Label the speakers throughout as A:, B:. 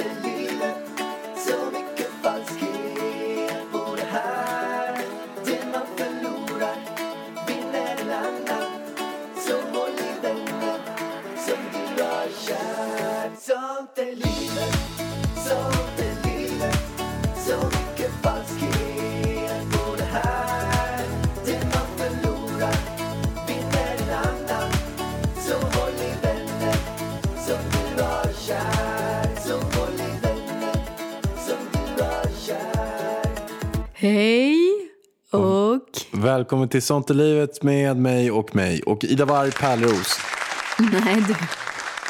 A: är livet Så mycket falskhet på det här Det man förlorar vinner en annan Så håll i vännen som du har kär Sånt är livet, sånt är livet Så mycket falskhet på det här Det man förlorar vinner en annan Så håll i vännen som du har kär Så håll i vännen som du har kär
B: Hej och
C: Välkommen till Sånt i livet med mig och mig och Ida Warg Pärleros.
B: nej du.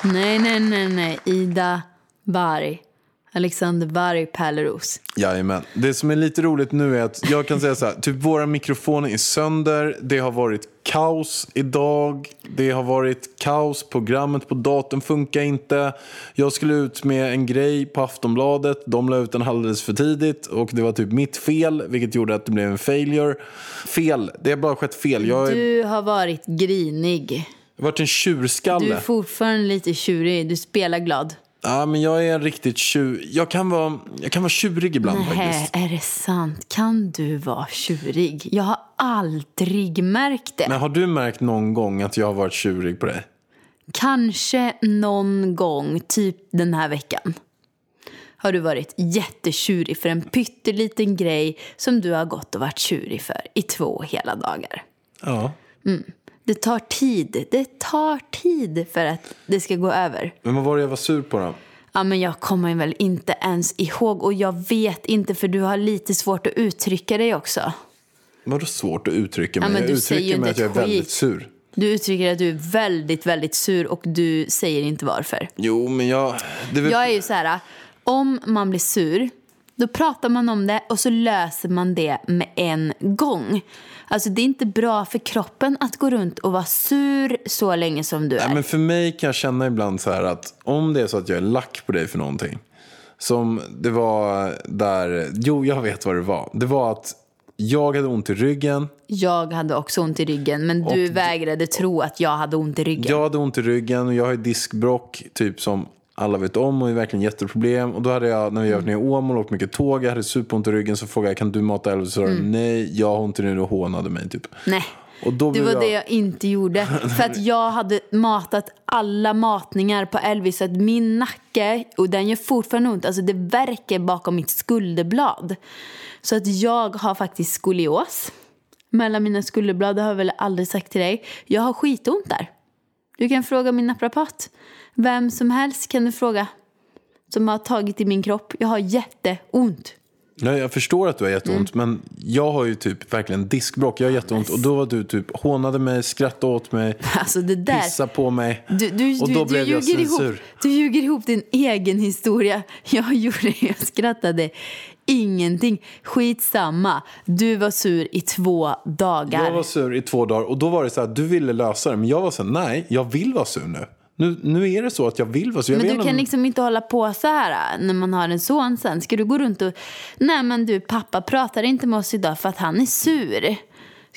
B: Nej, nej, nej, nej. Ida Varg. Alexander Varg Pärleros.
C: Jajamän. Det som är lite roligt nu är att jag kan säga så här, typ våra mikrofoner är sönder, det har varit kaos idag, det har varit kaos, programmet på datorn funkar inte. Jag skulle ut med en grej på Aftonbladet, de la ut den alldeles för tidigt och det var typ mitt fel, vilket gjorde att det blev en failure. Fel, det har bara skett fel. Jag har
B: Du har varit grinig.
C: varit en tjurskalle.
B: Du är fortfarande lite tjurig. Du spelar glad.
C: Ja, men jag är en riktigt tjur... Jag kan vara, jag kan vara tjurig ibland
B: Nej,
C: faktiskt.
B: är det sant? Kan du vara tjurig? Jag har aldrig märkt det.
C: Men har du märkt någon gång att jag har varit tjurig på dig?
B: Kanske någon gång, typ den här veckan, har du varit jättetjurig för en pytteliten grej som du har gått och varit tjurig för i två hela dagar.
C: Ja.
B: Det tar tid. Det tar tid för att det ska gå över.
C: Men vad var det jag var sur på då?
B: Ja, men jag kommer väl inte ens ihåg och jag vet inte för du har lite svårt att uttrycka dig också.
C: Vadå svårt att uttrycka mig?
B: Ja, men
C: jag
B: du säger ju
C: uttrycker mig att
B: inte
C: jag är
B: ett skit.
C: väldigt sur.
B: Du uttrycker att du är väldigt, väldigt sur och du säger inte varför.
C: Jo, men jag... Det är väl...
B: Jag är ju så här, om man blir sur, då pratar man om det och så löser man det med en gång. Alltså det är inte bra för kroppen att gå runt och vara sur så länge som du är.
C: Nej, men för mig kan jag känna ibland så här att om det är så att jag är lack på dig för någonting. Som det var där... Jo, jag vet vad det var. Det var att jag hade ont i ryggen.
B: Jag hade också ont i ryggen men
C: Och
B: du
C: d-
B: vägrade tro att jag hade ont i ryggen.
C: Jag hade ont i ryggen och jag har ju diskbrock typ som alla vet om och är verkligen jätteproblem. Och då hade jag, när vi varit nere i Åmål och åkt mycket tåg, jag hade superont i ryggen så frågade jag kan du mata Elvis? Och så sa de,
B: Mm.
C: nej, jag har ont i ryggen och hånade mig typ.
B: Nej.
C: Och då
B: Det
C: blev
B: var
C: jag,
B: det jag inte gjorde. För att jag hade matat alla matningar på Elvis. Så att min nacke, och den gör fortfarande ont, alltså det verkar bakom mitt skulderblad. Så att jag har faktiskt skolios. Mellan mina skulderblad, det har jag väl aldrig sagt till dig. Jag har skitont där. Du kan fråga min naprapat. Vem som helst kan du fråga. Som har tagit i min kropp. Jag har jätteont.
C: Nej, jag förstår att du har jätteont,
B: Mm.
C: men jag har ju typ verkligen diskbrock. Jag har jätteont och då var du typ hånade mig, skrattade åt mig,
B: Alltså det där.
C: pissade på mig.
B: Du, du,
C: och
B: du,
C: då
B: du,
C: blev jag
B: ljuger ihop,
C: censur.
B: du ljuger ihop din egen historia. Jag gjorde jag skrattade ingenting. Skitsamma, du var sur i två dagar.
C: Jag var sur i två dagar och då var det så att du ville lösa det, men jag var så här, nej, jag vill vara sur nu. Nu, nu är det så att jag vill vara sur. Jag
B: men
C: vet
B: du
C: inte
B: kan
C: om-
B: liksom inte hålla på så här äh, när man har en son sen. Ska du gå runt och... Nej men du, pappa pratar inte med oss idag för att han är sur.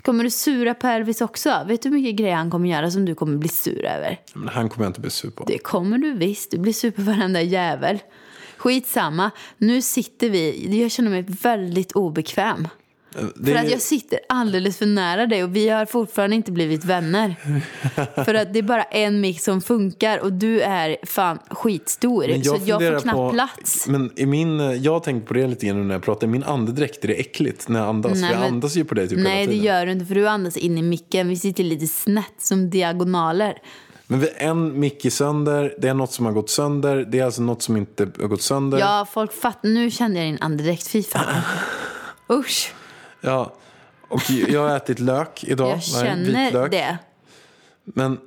B: Kommer du sura på Elvis också? Vet du hur mycket grejer han kommer göra som du kommer bli sur över?
C: Men han kommer jag inte bli sur på.
B: Det kommer du visst. Du blir sur på varenda jävel. Skitsamma. Nu sitter vi... Jag känner mig väldigt obekväm.
C: Eh, Det
B: För
C: är-
B: att jag sitter alldeles för nära dig och vi har fortfarande inte blivit vänner. för att det är bara en mick som funkar och du är fan skitstor.
C: Men
B: så jag
C: funderar
B: får knappt
C: på-
B: plats.
C: Men i min, eh, jag har tänkt på det lite grann nu när jag pratar. I Min andedräkt, är det äckligt när jag andas?
B: Nej,
C: för jag
B: men-
C: andas ju på dig typ
B: Nej,
C: hela
B: det
C: tiden.
B: gör du inte för du andas in i micken. Vi sitter lite snett som diagonaler.
C: Men vi, en mick är sönder, det är något som har gått sönder. Det är alltså något som inte har gått sönder.
B: Ja, folk fattar. Nu kände jag din andedräkt. Fy fan. Usch.
C: Ja. Och jag har ätit lök idag.
B: Jag
C: Maren,
B: känner
C: vitlök.
B: det.
C: Men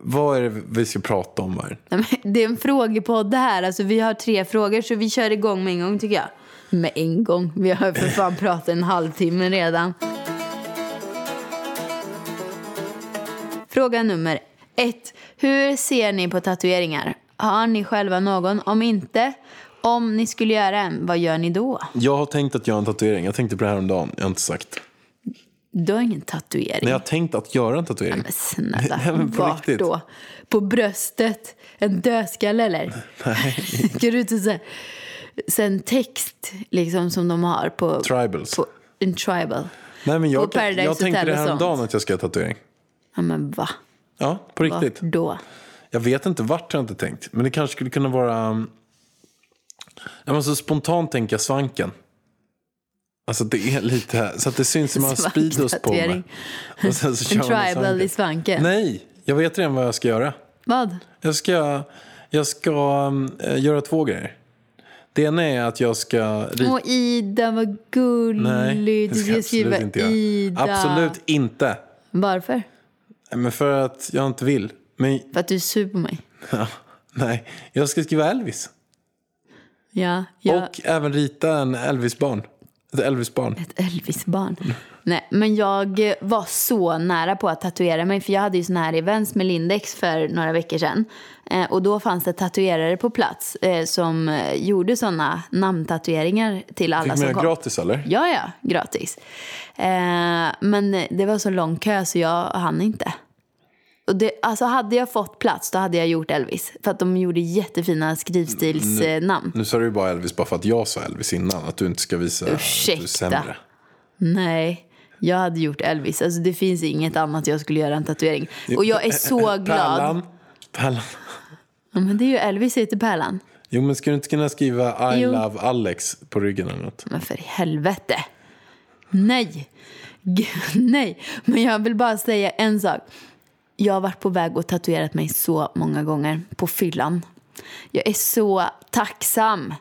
C: vad är det vi ska prata om här?
B: Nej, men Det är en frågepodd det här. Alltså, vi har tre frågor så vi kör igång med en gång tycker jag. Med en gång. Vi har för fan pratat en halvtimme redan. Fråga nummer ett. Hur ser ni på tatueringar? Har ni själva någon? Om inte, om ni skulle göra en, vad gör ni då?
C: Jag har tänkt att göra en tatuering. Jag tänkte på det här om dagen. Jag har inte sagt.
B: Du har ingen tatuering.
C: Nej, jag har tänkt att göra en tatuering.
B: Men snälla,
C: Nej, men på
B: vart
C: riktigt.
B: då? På bröstet? En dödskalle eller? Nej. Går du ut och så här, så en text liksom som de har på...
C: Tribals.
B: På, en tribal.
C: Nej, men
B: På
C: jag,
B: Paradise
C: jag tänkte
B: Hotel
C: det
B: och
C: här om
B: sånt.
C: dagen att jag ska göra tatuering.
B: Ja men va?
C: Ja, på riktigt.
B: Vart då?
C: Jag vet inte vart jag inte tänkt. Men det kanske skulle kunna vara... Um... Jag måste spontant tänka svanken. Alltså att det är lite här. Så att det syns hur man har speedos på mig.
B: Svanktatuering.
C: Och sen så kör
B: En
C: man med
B: tribal i svanken?
C: Nej, jag vet redan vad jag ska göra.
B: Vad?
C: Jag ska, jag ska um, eh, göra två grejer. Det ena är att jag ska rita...
B: Och Ida, vad gulligt.
C: Nej, det
B: du
C: ska jag
B: ska skriva
C: absolut inte göra.
B: Ida.
C: Absolut inte.
B: Varför?
C: Men för att jag inte vill. Men,
B: För att du är sur på mig.
C: ja, nej, jag ska skriva Elvis.
B: Ja, jag...
C: Och även rita en Elvis-barn. Ett Elvis-barn.
B: Ett Elvis-barn. Nej, men jag eh, var så nära på att tatuera mig. För jag hade ju sån här events med Lindex för några veckor sedan. Eh, och då fanns det tatuerare på plats eh, som eh, gjorde såna namntatueringar till alla
C: Fick man
B: som
C: göra
B: Alltså, kom.
C: gratis eller?
B: Ja, ja, gratis. Eh, men det var så lång kö så jag hann inte. Och det, alltså hade jag fått plats då hade jag gjort Elvis. För att de gjorde jättefina eh, skrivstilsnamn.
C: Mm, Nu sa du ju bara Elvis bara för att jag sa Elvis innan. Att du inte ska visa att du är
B: Ursäkta.
C: sämre.
B: Nej, jag hade gjort Elvis. Alltså det finns inget annat jag skulle göra än tatuering. Och jag är så glad.
C: Pärlan. Pärlan.
B: Ja, men det är ju Elvis heter Pärlan.
C: Jo men ska du inte kunna skriva I
B: Jo.
C: love Alex på ryggen eller något?
B: Men för i helvete. Nej. G- Nej. Men jag vill bara säga en sak. Jag har varit på väg och tatuerat mig så många gånger på fyllan. Jag är så tacksam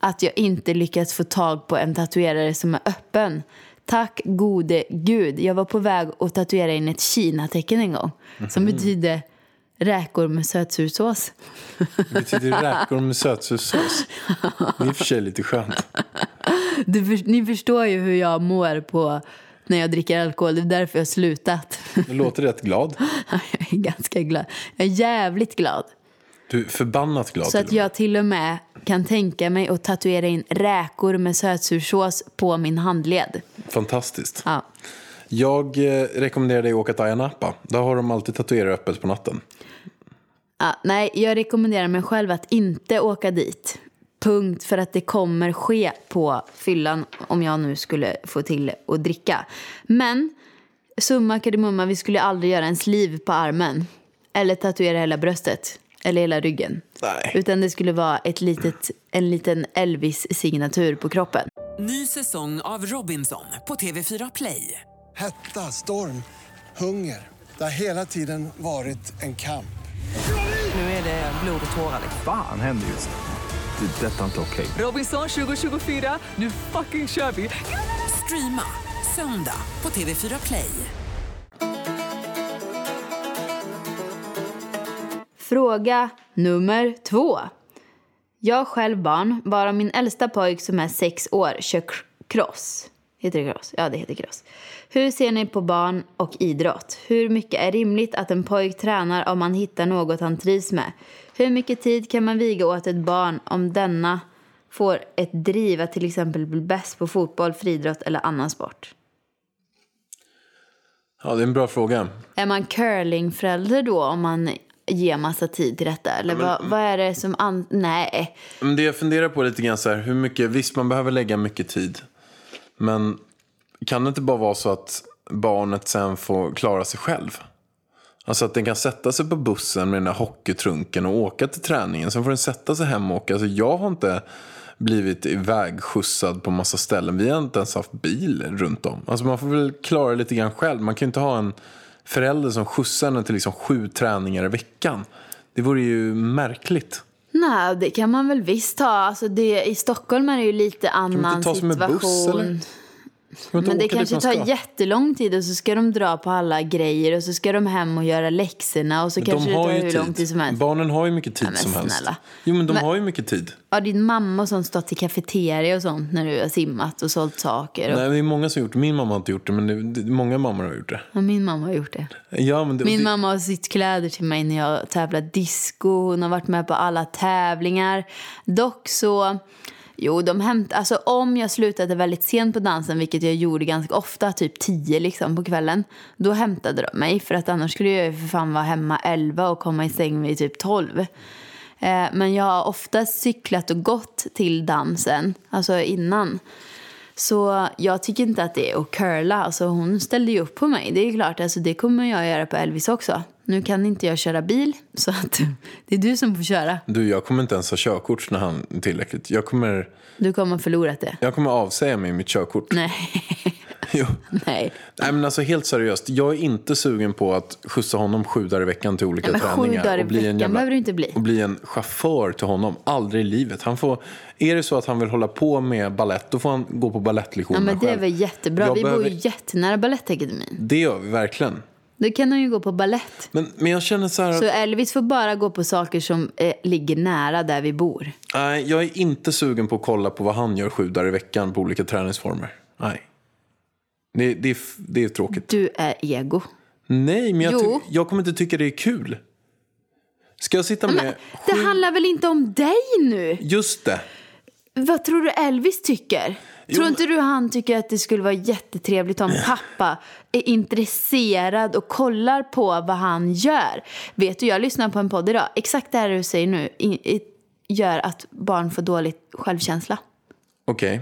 B: att jag inte lyckats få tag på en tatuerare som är öppen. Tack gode gud. Jag var på väg att tatuera in ett Kina-tecken en gång som betyder räkor med sötsursås.
C: Det betyder räkor med sötsursås. Det är i och för sig lite skönt.
B: Du, för- ni förstår ju hur jag mår på när jag dricker alkohol. Det är därför jag har slutat.
C: Du låter rätt glad.
B: jag är ganska glad. Jag är jävligt glad.
C: Du är förbannat glad.
B: Så
C: till
B: att
C: och med.
B: jag till och med kan tänka mig att tatuera in räkor med sötsursås på min handled.
C: Fantastiskt.
B: Ja.
C: Jag eh, rekommenderar dig att åka till Ayia Napa. Där har de alltid tatuerare öppet på natten.
B: Ja, Ah, nej, jag rekommenderar mig själv att inte åka dit. Punkt, för att det kommer ske på fyllan om jag nu skulle få till att dricka. Men summa kardemumma, vi skulle aldrig göra en sliv på armen. Eller tatuera hela bröstet. Eller hela ryggen.
C: Nej.
B: Utan det skulle vara ett litet, en liten Elvis-signatur på kroppen.
D: Ny säsong av Robinson på TV4 Play.
E: Hetta, storm, hunger. Det har hela tiden varit en kamp.
D: Nu är det blod och tårar. liksom.
F: Fan händer just nu. Det. är Detta är inte okej.
D: Robinson 2024, nu fucking kör vi! Streama söndag på TV4 Play.
B: Fråga nummer två. Jag har själv barn, bara min äldsta pojk som är sex år kör k- cross. Heter det cross? Ja, det heter cross. Hur ser ni på barn och idrott? Hur mycket är rimligt att en pojk tränar om man hittar något han trivs med? Hur mycket tid kan man viga åt ett barn om denna får ett driv att till exempel bli bäst på fotboll, friidrott eller annan sport?
C: Ja, det är en bra fråga.
B: Är man curlingförälder då om man ger massa tid till detta? Eller vad, vad är det som... An- Nej.
C: Men det jag funderar på lite grann så här, hur mycket, visst man behöver lägga mycket tid. Men kan det inte bara vara så att barnet sen får klara sig själv? Alltså att den kan sätta sig på bussen med den där hockeytrunken och åka till träningen. Sen får den sätta sig hem och åka. Alltså jag har inte blivit ivägskjutsad på massa ställen. Vi har inte ens haft bil runt om. Alltså man får väl klara det lite grann själv. Man kan ju inte ha en förälder som skjutsar en till liksom sju träningar i veckan. Det vore ju märkligt.
B: Nej, det kan man väl visst ha. Alltså det, I Stockholm är det ju lite
C: Kan man
B: annan
C: inte ta som en
B: situation.
C: buss eller?
B: Men
C: Men då
B: det
C: åker
B: kanske
C: dit man
B: tar
C: ska.
B: jättelång tid och så ska de dra på alla grejer och så ska de hem och göra läxorna och så kanske det tar hur lång tid som helst.
C: Barnen har ju mycket tid
B: Ja, men
C: som
B: snälla.
C: helst. Jo, men de
B: Men-
C: har ju mycket tid.
B: Har din mamma och sånt stått i kafeteria och sånt när du har simmat och sålt saker? Och...
C: Nej, det är många som har gjort det. Min mamma har inte gjort det, men det, det, många mammor har gjort det.
B: Ja, min mamma har gjort det.
C: Ja, men det
B: Min
C: det,
B: mamma har sytt kläder till mig när jag tävlar disco. Hon har varit med på alla tävlingar. Dock så... Jo, de hämt, alltså om jag slutade väldigt sent på dansen, vilket jag gjorde ganska ofta, typ 10 liksom på kvällen, då hämtade de mig. För att annars skulle jag ju för fan vara hemma 11 och komma i säng vid typ 12. Eh, men jag har ofta cyklat och gått till dansen, alltså innan. Så jag tycker inte att det är att curla. Alltså hon ställde ju upp på mig. Det är ju klart, alltså det kommer jag göra på Elvis också. Nu kan inte jag köra bil, så att det är du som får köra.
C: Du, jag kommer inte ens ha körkort när han är tillräckligt. Jag kommer,
B: Du kommer ha förlorat det.
C: jag kommer avsäga mig mitt körkort.
B: Nej,
C: Jo.
B: nej.
C: Nej, men alltså helt seriöst. Jag är inte sugen på att skjutsa honom sju dagar i veckan till olika
B: Ja, men sju
C: träningar.
B: dagar i
C: och bli
B: veckan
C: en jävla,
B: behöver du inte bli.
C: Och bli en chaufför till honom. Aldrig i livet. Han får, är det så att han vill hålla på med ballett, då får han gå på
B: Ja,
C: balettlektioner
B: men det är
C: själv.
B: väl jättebra.
C: Jag
B: Vi bor ju
C: behöver-
B: jättenära Balettakademin.
C: Det gör vi verkligen.
B: Då kan hon ju gå på ballett.
C: Men, men jag känner så här att
B: Så Elvis får bara gå på saker som eh, ligger nära där vi bor.
C: nej, jag är inte sugen på att kolla på vad han gör sju dagar i veckan på olika träningsformer. Nej. Det, det, är f- det är tråkigt.
B: Du är ego.
C: Nej, men jag,
B: Jo.
C: ty- jag kommer inte tycka det är kul. Ska jag sitta med...
B: Det handlar väl inte om dig nu?
C: Just det.
B: Vad tror du Elvis tycker? Tror
C: men-
B: inte du han tycker att det skulle vara jättetrevligt om pappa är intresserad och kollar på vad han gör? Vet du, jag lyssnade på en podd idag. Exakt det här du säger nu i, i, gör att barn får dålig självkänsla.
C: Okej.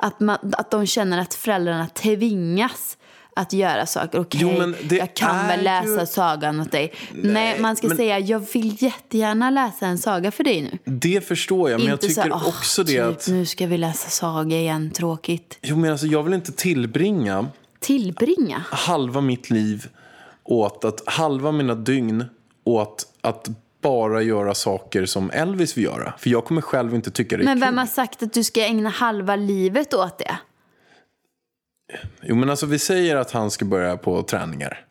B: Att, man, att de känner att föräldrarna tvingas att göra saker. Okej,
C: Jo, men det
B: jag kan väl
C: är ju-
B: läsa sagan åt dig. Nej, man ska
C: men-
B: säga jag vill jättegärna läsa en saga för dig nu.
C: Det förstår jag, men jag
B: Inte så
C: tycker
B: här, "Åh,
C: också det
B: typ,
C: att...
B: Nu ska vi läsa saga igen, tråkigt.
C: Jo, men alltså, jag vill inte tillbringa
B: Tillbringa?
C: halva mitt liv åt att... Halva mina dygn åt att bara göra saker som Elvis vill göra. För jag kommer själv inte tycka det är
B: Men
C: kul.
B: vem har sagt att du ska ägna halva livet åt det?
C: Jo, men alltså vi säger att han ska börja på träningar.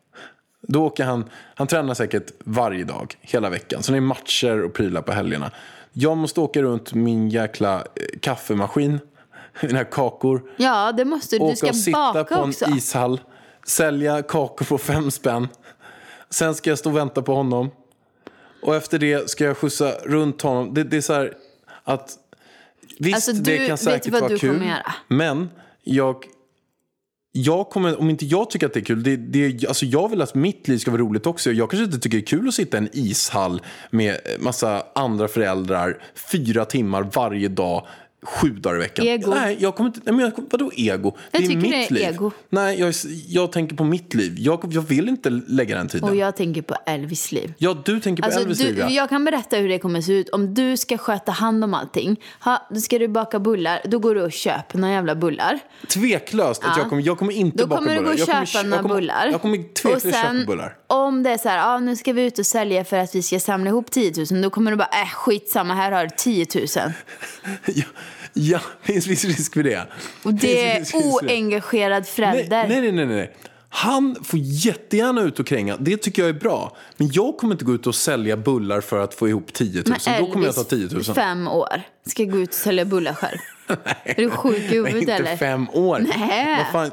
C: Då åker han, han tränar säkert varje dag, hela veckan. Sen är det matcher och prylar på helgerna. Jag måste åka runt min jäkla eh, kaffemaskin, mina kakor.
B: Ja, det måste du. Du
C: åka
B: ska
C: och sitta på
B: baka
C: en
B: också.
C: ishall, sälja kakor på fem spänn. Sen ska jag stå och vänta på honom. Och efter det ska jag skjutsa runt honom. Det, det är så här att... Visst,
B: Alltså, du-
C: det kan
B: vet
C: säkert
B: du vad
C: vara
B: du
C: kul.
B: kommer göra?
C: Men jag... Jag kommer, om inte jag tycker att det är kul, det, det, alltså jag vill att mitt liv ska vara roligt också. Jag kanske inte tycker det är kul att sitta i en ishall med massa andra föräldrar fyra timmar varje dag, sju dagar i veckan.
B: Ego.
C: Nej, jag kommer inte, nej men jag, vadå ego?
B: Jag
C: det är
B: tycker
C: mitt
B: det är
C: liv.
B: ego.
C: Nej, jag, jag tänker på mitt liv. Jag, jag vill inte lägga den tiden.
B: Och jag tänker på Elvis liv.
C: Ja, du tänker på
B: Alltså,
C: Elvis
B: du,
C: liv, ja.
B: jag kan berätta hur det kommer se ut. Om du ska sköta hand om allting, ha, då ska du baka bullar, då går du och köper några jävla bullar.
C: Tveklöst att
B: Ja.
C: jag kommer, jag kommer inte
B: Då
C: baka
B: kommer du gå
C: bullar.
B: och
C: Jag kommer-
B: köpa
C: jag
B: några
C: kommer-
B: bullar.
C: Jag kommer
B: Och
C: tveklöst
B: sen,
C: köpa bullar.
B: Om det är så här, ah, nu ska vi ut och sälja för att vi ska samla ihop 10 000, då kommer du bara, äh skitsamma, här har du 10 000.
C: Ja, ja finns viss risk för det.
B: Och det är
C: Finns viss risk för det.
B: oengagerad
C: Nej,
B: förälder.
C: nej, nej, nej, nej. Han får jättegärna ut och kränga. Det tycker jag är bra. Men jag kommer inte gå ut och sälja bullar för att få ihop 10 000.
B: Men
C: Då kommer jag ta 10 000.
B: Elvis, fem år, ska gå ut och sälja bullar själv. är du sjuk i
C: Nej,
B: huvudet
C: inte
B: eller?
C: fem år.
B: Nej.
C: Vad fan?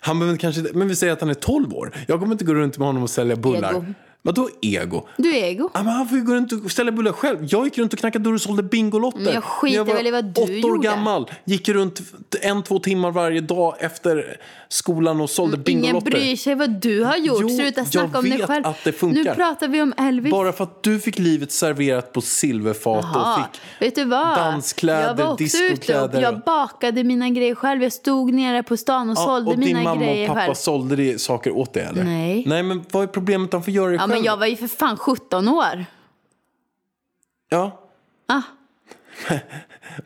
C: Han behöver kanske inte- Men vi säger att han är 12 år. Jag kommer inte gå runt med honom och sälja bullar.
B: Ego.
C: Vadå ego?
B: Du är ego.
C: Ja, men han får ju gå runt och ställa bullar själv. Jag gick runt och knackade dörr och sålde bingolotter.
B: Men jag skiter
C: När var
B: väl i vad du
C: åtta år
B: gjorde.
C: gammal. Gick runt en, två timmar varje dag efter skolan och sålde
B: Mm, Ingen
C: bingolotter.
B: bryr sig vad du har gjort.
C: Jo,
B: Sluta
C: jag
B: snacka om dig
C: vet
B: själv.
C: att det funkar.
B: Nu pratar vi om Elvis.
C: Bara för att du fick livet serverat på silverfat
B: Ja,
C: och fick...
B: vet du vad?
C: danskläder,
B: jag var också ute och
C: discokläder.
B: jag bakade mina grejer själv. Jag stod nere på stan och
C: Ja,
B: sålde
C: och din
B: mina
C: mamma och
B: grejer
C: pappa
B: själv.
C: sålde det saker åt dig eller?
B: Nej.
C: Nej men vad är problemet? Han får göra det
B: Ja,
C: själv.
B: men jag var ju för fan 17 år.
C: Ja.
B: Ah.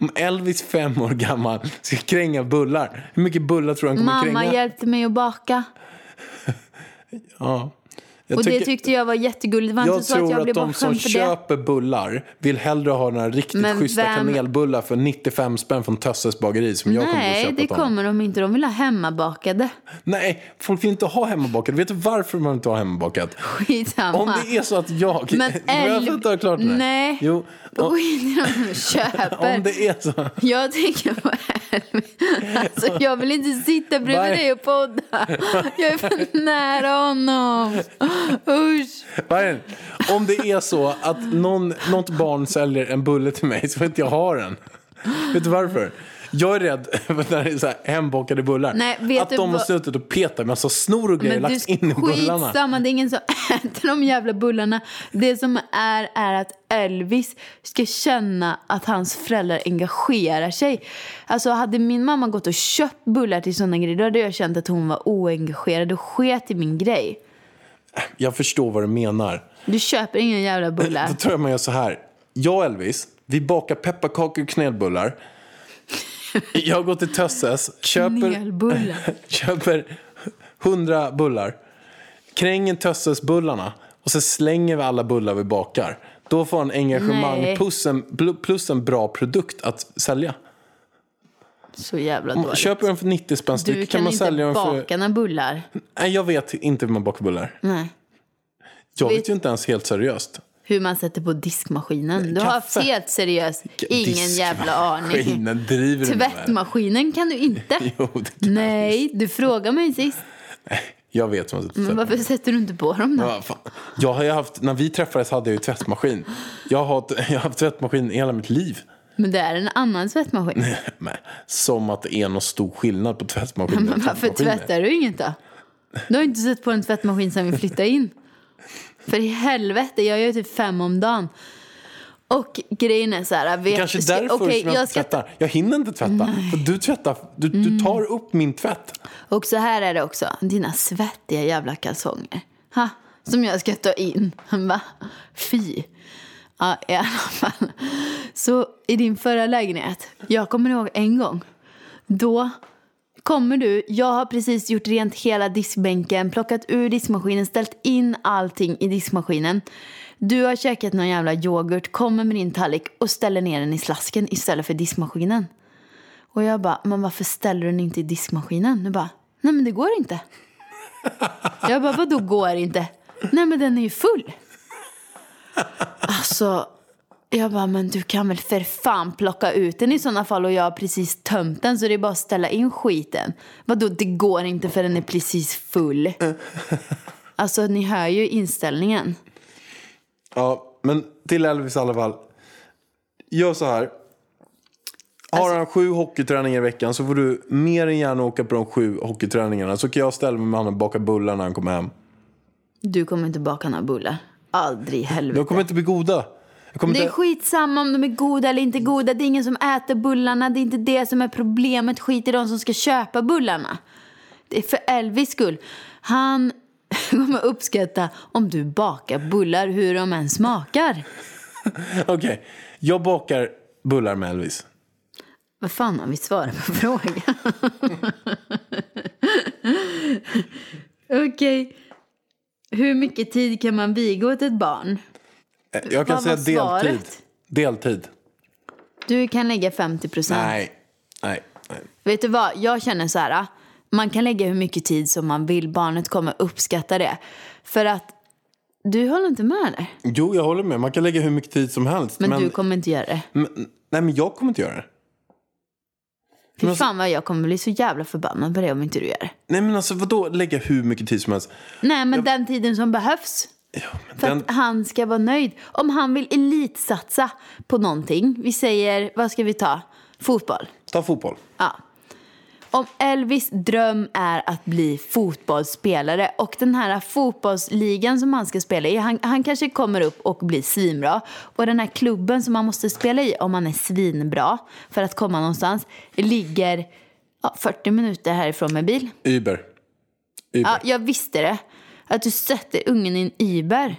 C: Om Elvis fem år gammal ska kränga bullar. Hur mycket bullar tror du han kommer
B: Mamma
C: kränga?
B: hjälpte mig att baka.
C: Ja. Jag
B: och det
C: tycker-
B: tyckte jag var jättegulligt. Det var
C: Jag
B: inte så att
C: tror
B: jag
C: att,
B: blev
C: de som
B: bortskämd för det.
C: köper bullar vill hellre ha några riktigt
B: Men
C: schyssta
B: vem-
C: kanelbullar för 95 spänn från Tösses bageri som jag kommer att
B: Nej,
C: köpa
B: det
C: åt honom.
B: kommer de inte. De vill ha hemmabakade.
C: Nej, folk vill inte ha hemmabakat. Vet du varför man inte har hemmabakat?
B: Skitsamma.
C: Om det är så att jag...
B: Men
C: Får jag
B: elv-
C: fatta klart det här?
B: Nej.
C: Jo,
B: Gå
C: om,
B: in i de och köper.
C: om det är så...
B: Jag tänker på Alltså jag vill inte sitta bredvid
C: Var-
B: dig och podda. Jag är för nära honom. Usch.
C: Vargen, om det är så att någon, något barn säljer en bulle till mig så får inte jag ha den. Vet du varför? Jag är rädd för när det är så här hembakade bullar.
B: Nej, vet
C: att
B: du
C: de har
B: vad-
C: suttit och petat med alltså snor och grejer
B: Men du
C: lagt in i bullarna.
B: skitsamma, det är ingen som äter de jävla bullarna. Det som är, är att Elvis ska känna att hans föräldrar engagerar sig. Alltså hade min mamma gått och köpt bullar till sådana grejer då hade jag känt att hon var oengagerad och sket i min grej.
C: Jag förstår vad du menar.
B: Du köper ingen jävla bulla.
C: Då tror jag man gör så här. Jag och Elvis, vi bakar pepparkakor och knelbullar. Jag går till Tösses, köper,
B: Knelbullar.
C: köper 100 bullar. Kränger Tösses-bullarna och så slänger vi alla bullar vi bakar. Då får han engagemang
B: Nej.
C: plus en, bl- plus en bra produkt att sälja.
B: Så jävla
C: Om man
B: dåligt.
C: köper den för 90 spänn
B: du
C: styck
B: kan,
C: Alltså, kan, man
B: inte
C: sälja den för...
B: baka några bullar.
C: Nej, jag vet inte hur man bakar bullar.
B: Nej.
C: Jag
B: Vet-
C: vet ju inte ens helt seriöst.
B: Hur man sätter på diskmaskinen. Du har haft
C: Kaffe.
B: helt seriöst ingen jävla aning.
C: Diskmaskinen, driver du med mig?
B: Tvättmaskinen kan du inte.
C: Jo, det kan
B: Nej, du frågade mig sist.
C: Jag vet vad
B: Men varför sätter du inte på dem då?
C: Ja, fan. Jag har ju haft, när vi träffades hade jag ju tvättmaskin. Jag har, haft- jag har haft tvättmaskin i hela mitt liv.
B: Men det är en annan tvättmaskin.
C: Men, som att det är någon stor skillnad på tvättmaskin och
B: Men varför
C: tvättmaskiner.
B: tvättar du inget då? Du har inte sett på en tvättmaskin sedan vi flyttade in. För i helvete, jag gör typ fem om dagen. Och grejen är så här... Vet,
C: Kanske
B: ska-
C: därför
B: okej,
C: som jag,
B: jag
C: inte
B: ska Mm.
C: tvättar. Jag hinner inte tvätta. För du tvättar, du, du tar upp min tvätt.
B: Och så här är det också, dina svettiga jävla kalsonger. Ha, som jag ska ta in. Va? Fy. Ja, i alla fall. Så i din förra lägenhet, jag kommer ihåg en gång. Då kommer du, jag har precis gjort rent hela diskbänken, plockat ur diskmaskinen, ställt in allting i diskmaskinen. Du har käkat någon jävla yoghurt, kommer med din tallrik och ställer ner den i slasken istället för diskmaskinen. Och jag bara, men varför ställer du den inte i diskmaskinen? Du bara, nej men det går inte. Jag bara, vadå går inte? Nej men den är ju full. Alltså, jag bara, men du kan väl för fan plocka ut den i sådana fall och jag har precis tömt den så det är bara att ställa in skiten. Vadå, det går inte för den är precis full. Alltså ni hör ju inställningen.
C: Ja, men till Elvis i alla fall. Gör så här.
B: Alltså-
C: Har han sju hockeyträningar i veckan så får du mer än gärna åka på de sju hockeyträningarna. Så kan jag ställa mig med honom och baka bullar när han kommer hem.
B: Du kommer inte baka några bullar. Aldrig i helvete.
C: De kommer inte bli goda. Jag kommer
B: Det är
C: inte...
B: skitsamma om de är goda eller inte goda. Det är ingen som äter bullarna. Det är inte det som är problemet. Skit i de som ska köpa bullarna. Det är för Elvis skull. Han kommer uppskatta om du bakar bullar hur de än smakar.
C: Okej, jag bakar bullar med Elvis.
B: Vad fan har vi svarat på frågan? Okej. Hur mycket tid kan man viga åt ett barn?
C: Eh, Jag kan
B: Vad
C: säga
B: var
C: deltid.
B: svaret?
C: Deltid.
B: Du kan lägga 50 procent.
C: Nej. Nej. Nej.
B: Vet du vad, jag känner så här. Man kan lägga hur mycket tid som man vill, barnet kommer uppskatta det. För att du håller inte med där.
C: Jo, jag håller med. Man kan lägga hur mycket tid som helst.
B: Men, du kommer inte göra det.
C: men, nej, men jag kommer inte göra det.
B: Fy
C: alltså-
B: fan vad jag kommer bli så jävla förbannad på det om inte du gör det.
C: Nej, men alltså vadå lägga hur mycket tid som helst?
B: Nej men den tiden som behövs. För
C: Den,
B: att han ska vara nöjd. Om han vill elitsatsa på någonting. Vi säger, vad ska vi ta? Fotboll.
C: ta fotboll.
B: Ja. Om Elvis dröm är att bli fotbollsspelare och den här fotbollsligan som han ska spela i, han, han kanske kommer upp och blir svinbra. Och den här klubben som han måste spela i om han är svinbra för att komma någonstans ligger ja, 40 minuter härifrån med bil.
C: Uber. Uber.
B: Ja, jag visste det. Att du sätter ungen i en Uber.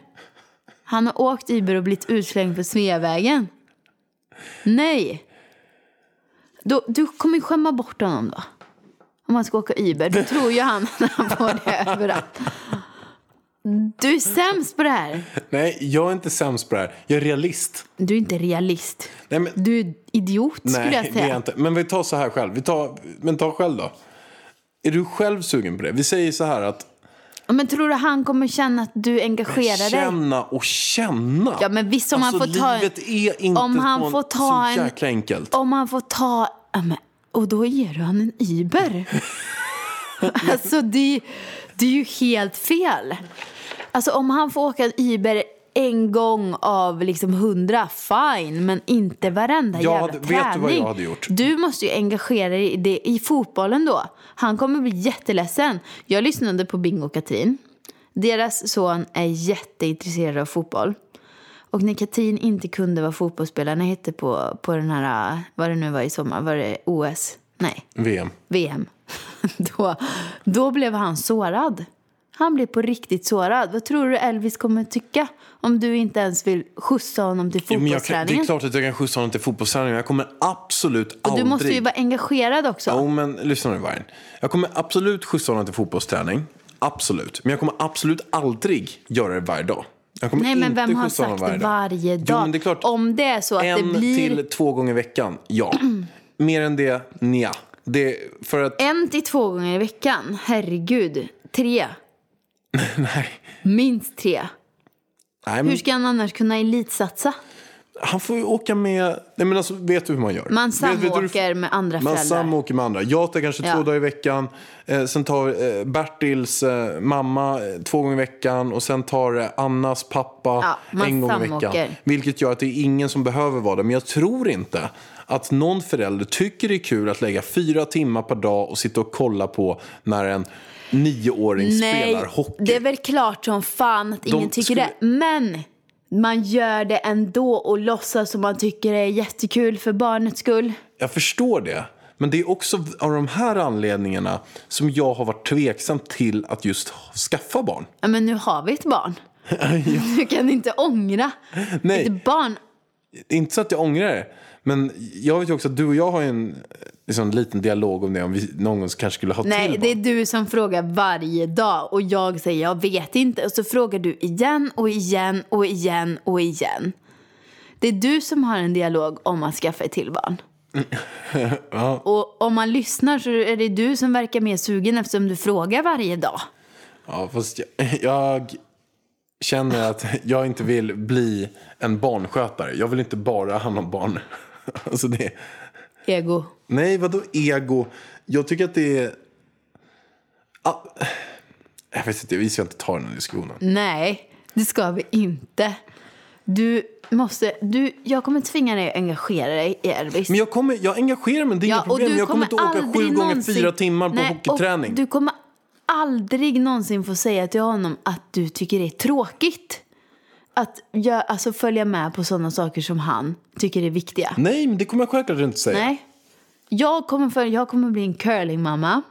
B: Han har åkt Uber och blivit utslängd på Sveavägen. Nej. Då, du kommer ju skämma bort honom då. Om han ska åka Uber. Då tror ju han att han får det överallt. Du är sämst på det här.
C: Nej, jag är inte sämst på det här. Jag är realist.
B: Du är inte realist.
C: Nej, men,
B: Du är idiot skulle
C: nej
B: jag
C: det är
B: säga.
C: jag inte. Men vi tar så här själv. Vi tar, men ta själv då. Är du själv sugen på det? Vi säger så här att
B: Men tror du han kommer känna att du engagerar dig?
C: känna och känna.
B: Ja, men visst, om
C: alltså,
B: han får ta en-
C: livet är inte
B: om han
C: så-
B: får ta
C: så
B: en-
C: jäkla enkelt.
B: Om han får ta... Ja, men, och då ger du han en Uber. alltså, det, är- det är ju helt fel. Alltså, om han får åka en Uber en gång av liksom hundra, fine. Men inte varenda
C: Jag
B: jävla
C: hade- vet du
B: träning.
C: vad jag hade gjort?
B: Du måste ju engagera dig i, det, i fotbollen då. Han kommer bli jätteledsen. Jag lyssnade på Bingo och Katrin. Deras son är jätteintresserad av fotboll. Och när Katrin inte kunde vad fotbollsspelarna hette på, på den här, vad det nu var i sommar, var det OS? Nej,
C: VM.
B: VM. Då, då blev han sårad. Han blev på riktigt sårad. Vad tror du Elvis kommer tycka om du inte ens vill skjutsa honom till
C: Ja, men jag kan, det
B: fotbollsträningen?
C: är klart att jag kan skjutsa honom till fotbollsträningen. Jag kommer absolut
B: och
C: aldrig...
B: du måste ju vara engagerad också.
C: Jo, men lyssna nu Vargen. Jag kommer absolut skjutsa honom till fotbollsträning. Absolut. Men jag kommer absolut aldrig göra det varje dag. Jag kommer
B: Nej, men
C: inte
B: vem har
C: skjutsa
B: sagt
C: honom
B: varje
C: varje
B: dag?
C: dag. Jo, men det är klart.
B: Om det är så att det
C: en
B: blir
C: till två gånger i veckan, ja. Mer än det, nja. Det, för att,
B: en till två gånger i veckan, herregud. Tre,
C: nej.
B: minst tre.
C: nej
B: Hur
C: men,
B: ska han annars kunna elitsatsa?
C: Han får ju åka med, nej men alltså vet du hur man gör?
B: Man
C: Vet- vet du hur-
B: samåker med andra
C: Man
B: föräldrar.
C: samåker med andra. Jag tar kanske
B: Ja.
C: två dagar i veckan. Eh, sen tar eh, Bertils eh, mamma eh, två gånger i veckan. Och sen tar eh, Annas pappa
B: Ja, man
C: en gång i
B: samåker.
C: veckan. Vilket gör att det är ingen som behöver vara där. Men jag tror inte att någon förälder tycker det är kul att lägga fyra timmar per dag och sitta och kolla på när en nioåring spelar hockey.
B: det är väl klart som fan att ingen tycker
C: skulle-
B: det. Men man gör det ändå och låtsas som man tycker det är jättekul för barnets skull.
C: Jag förstår det. Men det är också av de här anledningarna som jag har varit tveksam till att just skaffa barn.
B: Ja, men nu har vi ett barn. Du kan inte ångra
C: Nej.
B: ett barn.
C: inte så att jag ångrar det. Men jag vet ju också att du och jag har ju en eh, liksom, liten dialog om det. Om vi någon gång kanske skulle ha
B: Nej,
C: till
B: det är
C: barn.
B: du som frågar varje dag och jag säger jag vet inte och så frågar du igen och igen och igen och igen. Det är du som har en dialog om att skaffa ett till barn. Och om man lyssnar så är det du som verkar mer sugen eftersom du frågar varje dag.
C: Ja, fast jag, jag känner att jag inte vill bli en barnskötare. Jag vill inte bara ha hand om barn. Alltså det,
B: Ego.
C: nej, vadå ego? Jag tycker att det är... Ah, jag vet inte, vi ska inte ta den här diskussionen.
B: Nej, det ska vi inte. Du måste, du, jag kommer tvinga dig att engagera dig i Elvis.
C: Men jag, kommer, jag engagerar mig, det är inga problem. Men jag kommer inte åka
B: aldrig
C: sju gånger
B: någonsin-
C: fyra timmar på
B: Nej, och
C: hockeyträning.
B: Du kommer aldrig någonsin få säga till honom att du tycker det är tråkigt. Att jag, alltså, följa med på sådana saker som han tycker är viktiga.
C: Nej, men det kommer jag självklart inte säga.
B: Nej. Jag kommer, följa, jag kommer bli en curlingmamma.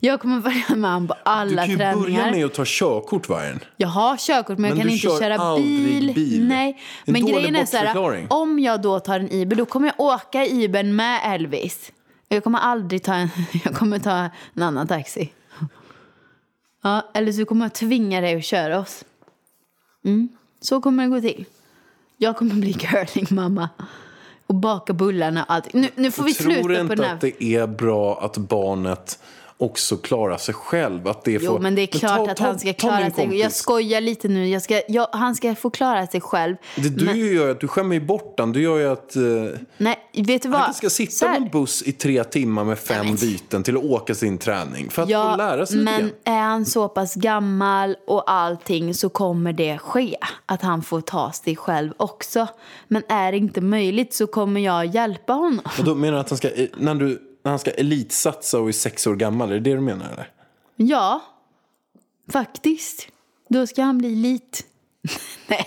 B: Jag kommer följa med honom på
C: Du
B: alla
C: kan ju
B: träningar.
C: börja med att ta körkort vargen.
B: Jag har körkort men,
C: Men
B: jag kan
C: du
B: inte
C: kör
B: köra
C: aldrig
B: bil.
C: bil.
B: Nej.
C: En
B: Men
C: dålig
B: grejen är så här,
C: bortförklaring.
B: om jag då tar en Uber då kommer jag åka i Ubern med Elvis. Jag kommer aldrig ta en, jag kommer ta en annan taxi. Ja, eller så kommer jag tvinga dig att köra oss. Mm. Så kommer det gå till. Jag kommer bli curlingmamma. Och baka bullarna och allt. Nu, nu får vi
C: Tror du
B: sluta på
C: inte
B: den här.
C: att det är bra att barnet också klarar sig själv? Att det
B: Jo,
C: får...
B: men det är klart
C: ta-
B: att
C: ta-
B: han ska
C: ta min
B: klara sig.
C: kompis.
B: Jag skojar lite nu. Jag ska, jag, han ska få klara sig själv.
C: Det du
B: Men-
C: gör ju att du skämmer ju bort den. Du gör ju att eh,
B: Nej, vet du vad?
C: han ska
B: Så
C: sitta
B: här.
C: på en buss i tre timmar med fem byten till att åka sin träning. För att få lära sig
B: men
C: lite
B: är han så pass gammal och allting så kommer det ske. Att han får ta sig själv också. Men är det inte möjligt så kommer jag hjälpa honom.
C: Och då menar du att han ska, eh, när, du, när han ska elitsatsa och är sex år gammal, är det det du menar eller?
B: Ja, faktiskt. Då ska han bli lit. Nej,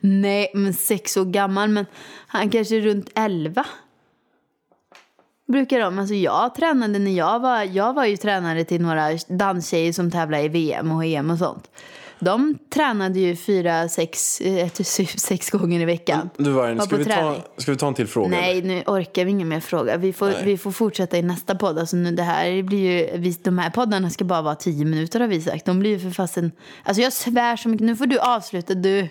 B: nej, men sex år gammal. Men han kanske är runt elva. Brukar de. Alltså jag tränade när jag var, jag var ju tränare till några danstjejer som tävlade i VM E och EM och sånt. De tränade ju fyra, sex, eh, typ sex gånger i veckan.
C: Du Vargen,
B: Var
C: ska
B: på
C: vi, ta,
B: träning.
C: ska vi ta en till fråga?
B: Nej, nu orkar vi ingen mer fråga. Vi får,
C: Nej.
B: vi får fortsätta i nästa podd. Alltså nu det här blir ju, vi, de här poddarna ska bara vara tio minuter har vi sagt. De blir ju för fasen... Alltså jag svär så mycket. Nu får du avsluta du.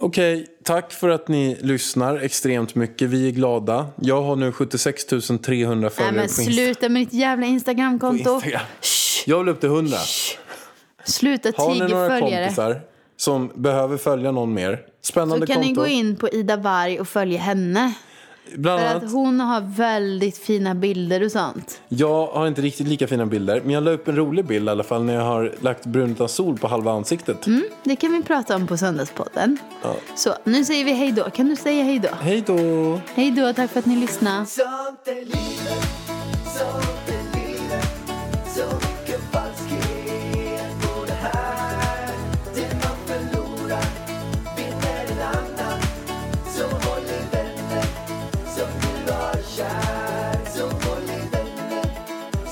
C: Okej, tack för att ni lyssnar extremt mycket. Vi är glada. Jag har nu 76 300
B: Nej
C: följare
B: men
C: på Instagram.
B: sluta med ditt jävla Instagramkonto.
C: Instagram.
B: Shh,
C: Jag vill upp till 100.
B: Sluta
C: Har ni
B: tiga
C: några
B: följare.
C: kompisar som behöver följa någon mer? Spännande
B: Så kan ni
C: konto.
B: gå in på Ida Warg och följa henne.
C: Bland
B: För
C: annat,
B: att hon har väldigt fina bilder och sånt.
C: Jag har inte riktigt lika fina bilder, men jag la upp en rolig bild i alla fall när jag har lagt brun utan sol på halva ansiktet.
B: Mm, det kan vi prata om på Söndagspodden. Så nu säger vi hej då. Kan du säga hej då?
C: Hej då!
B: Hej då, tack för att ni lyssnade.
A: Sånt är livet, sånt är livet Så mycket falskhet på det här Det man förlorar vinner en annan Så håll i vänner som du har kär Så håll i vänner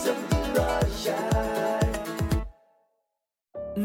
A: som du har kär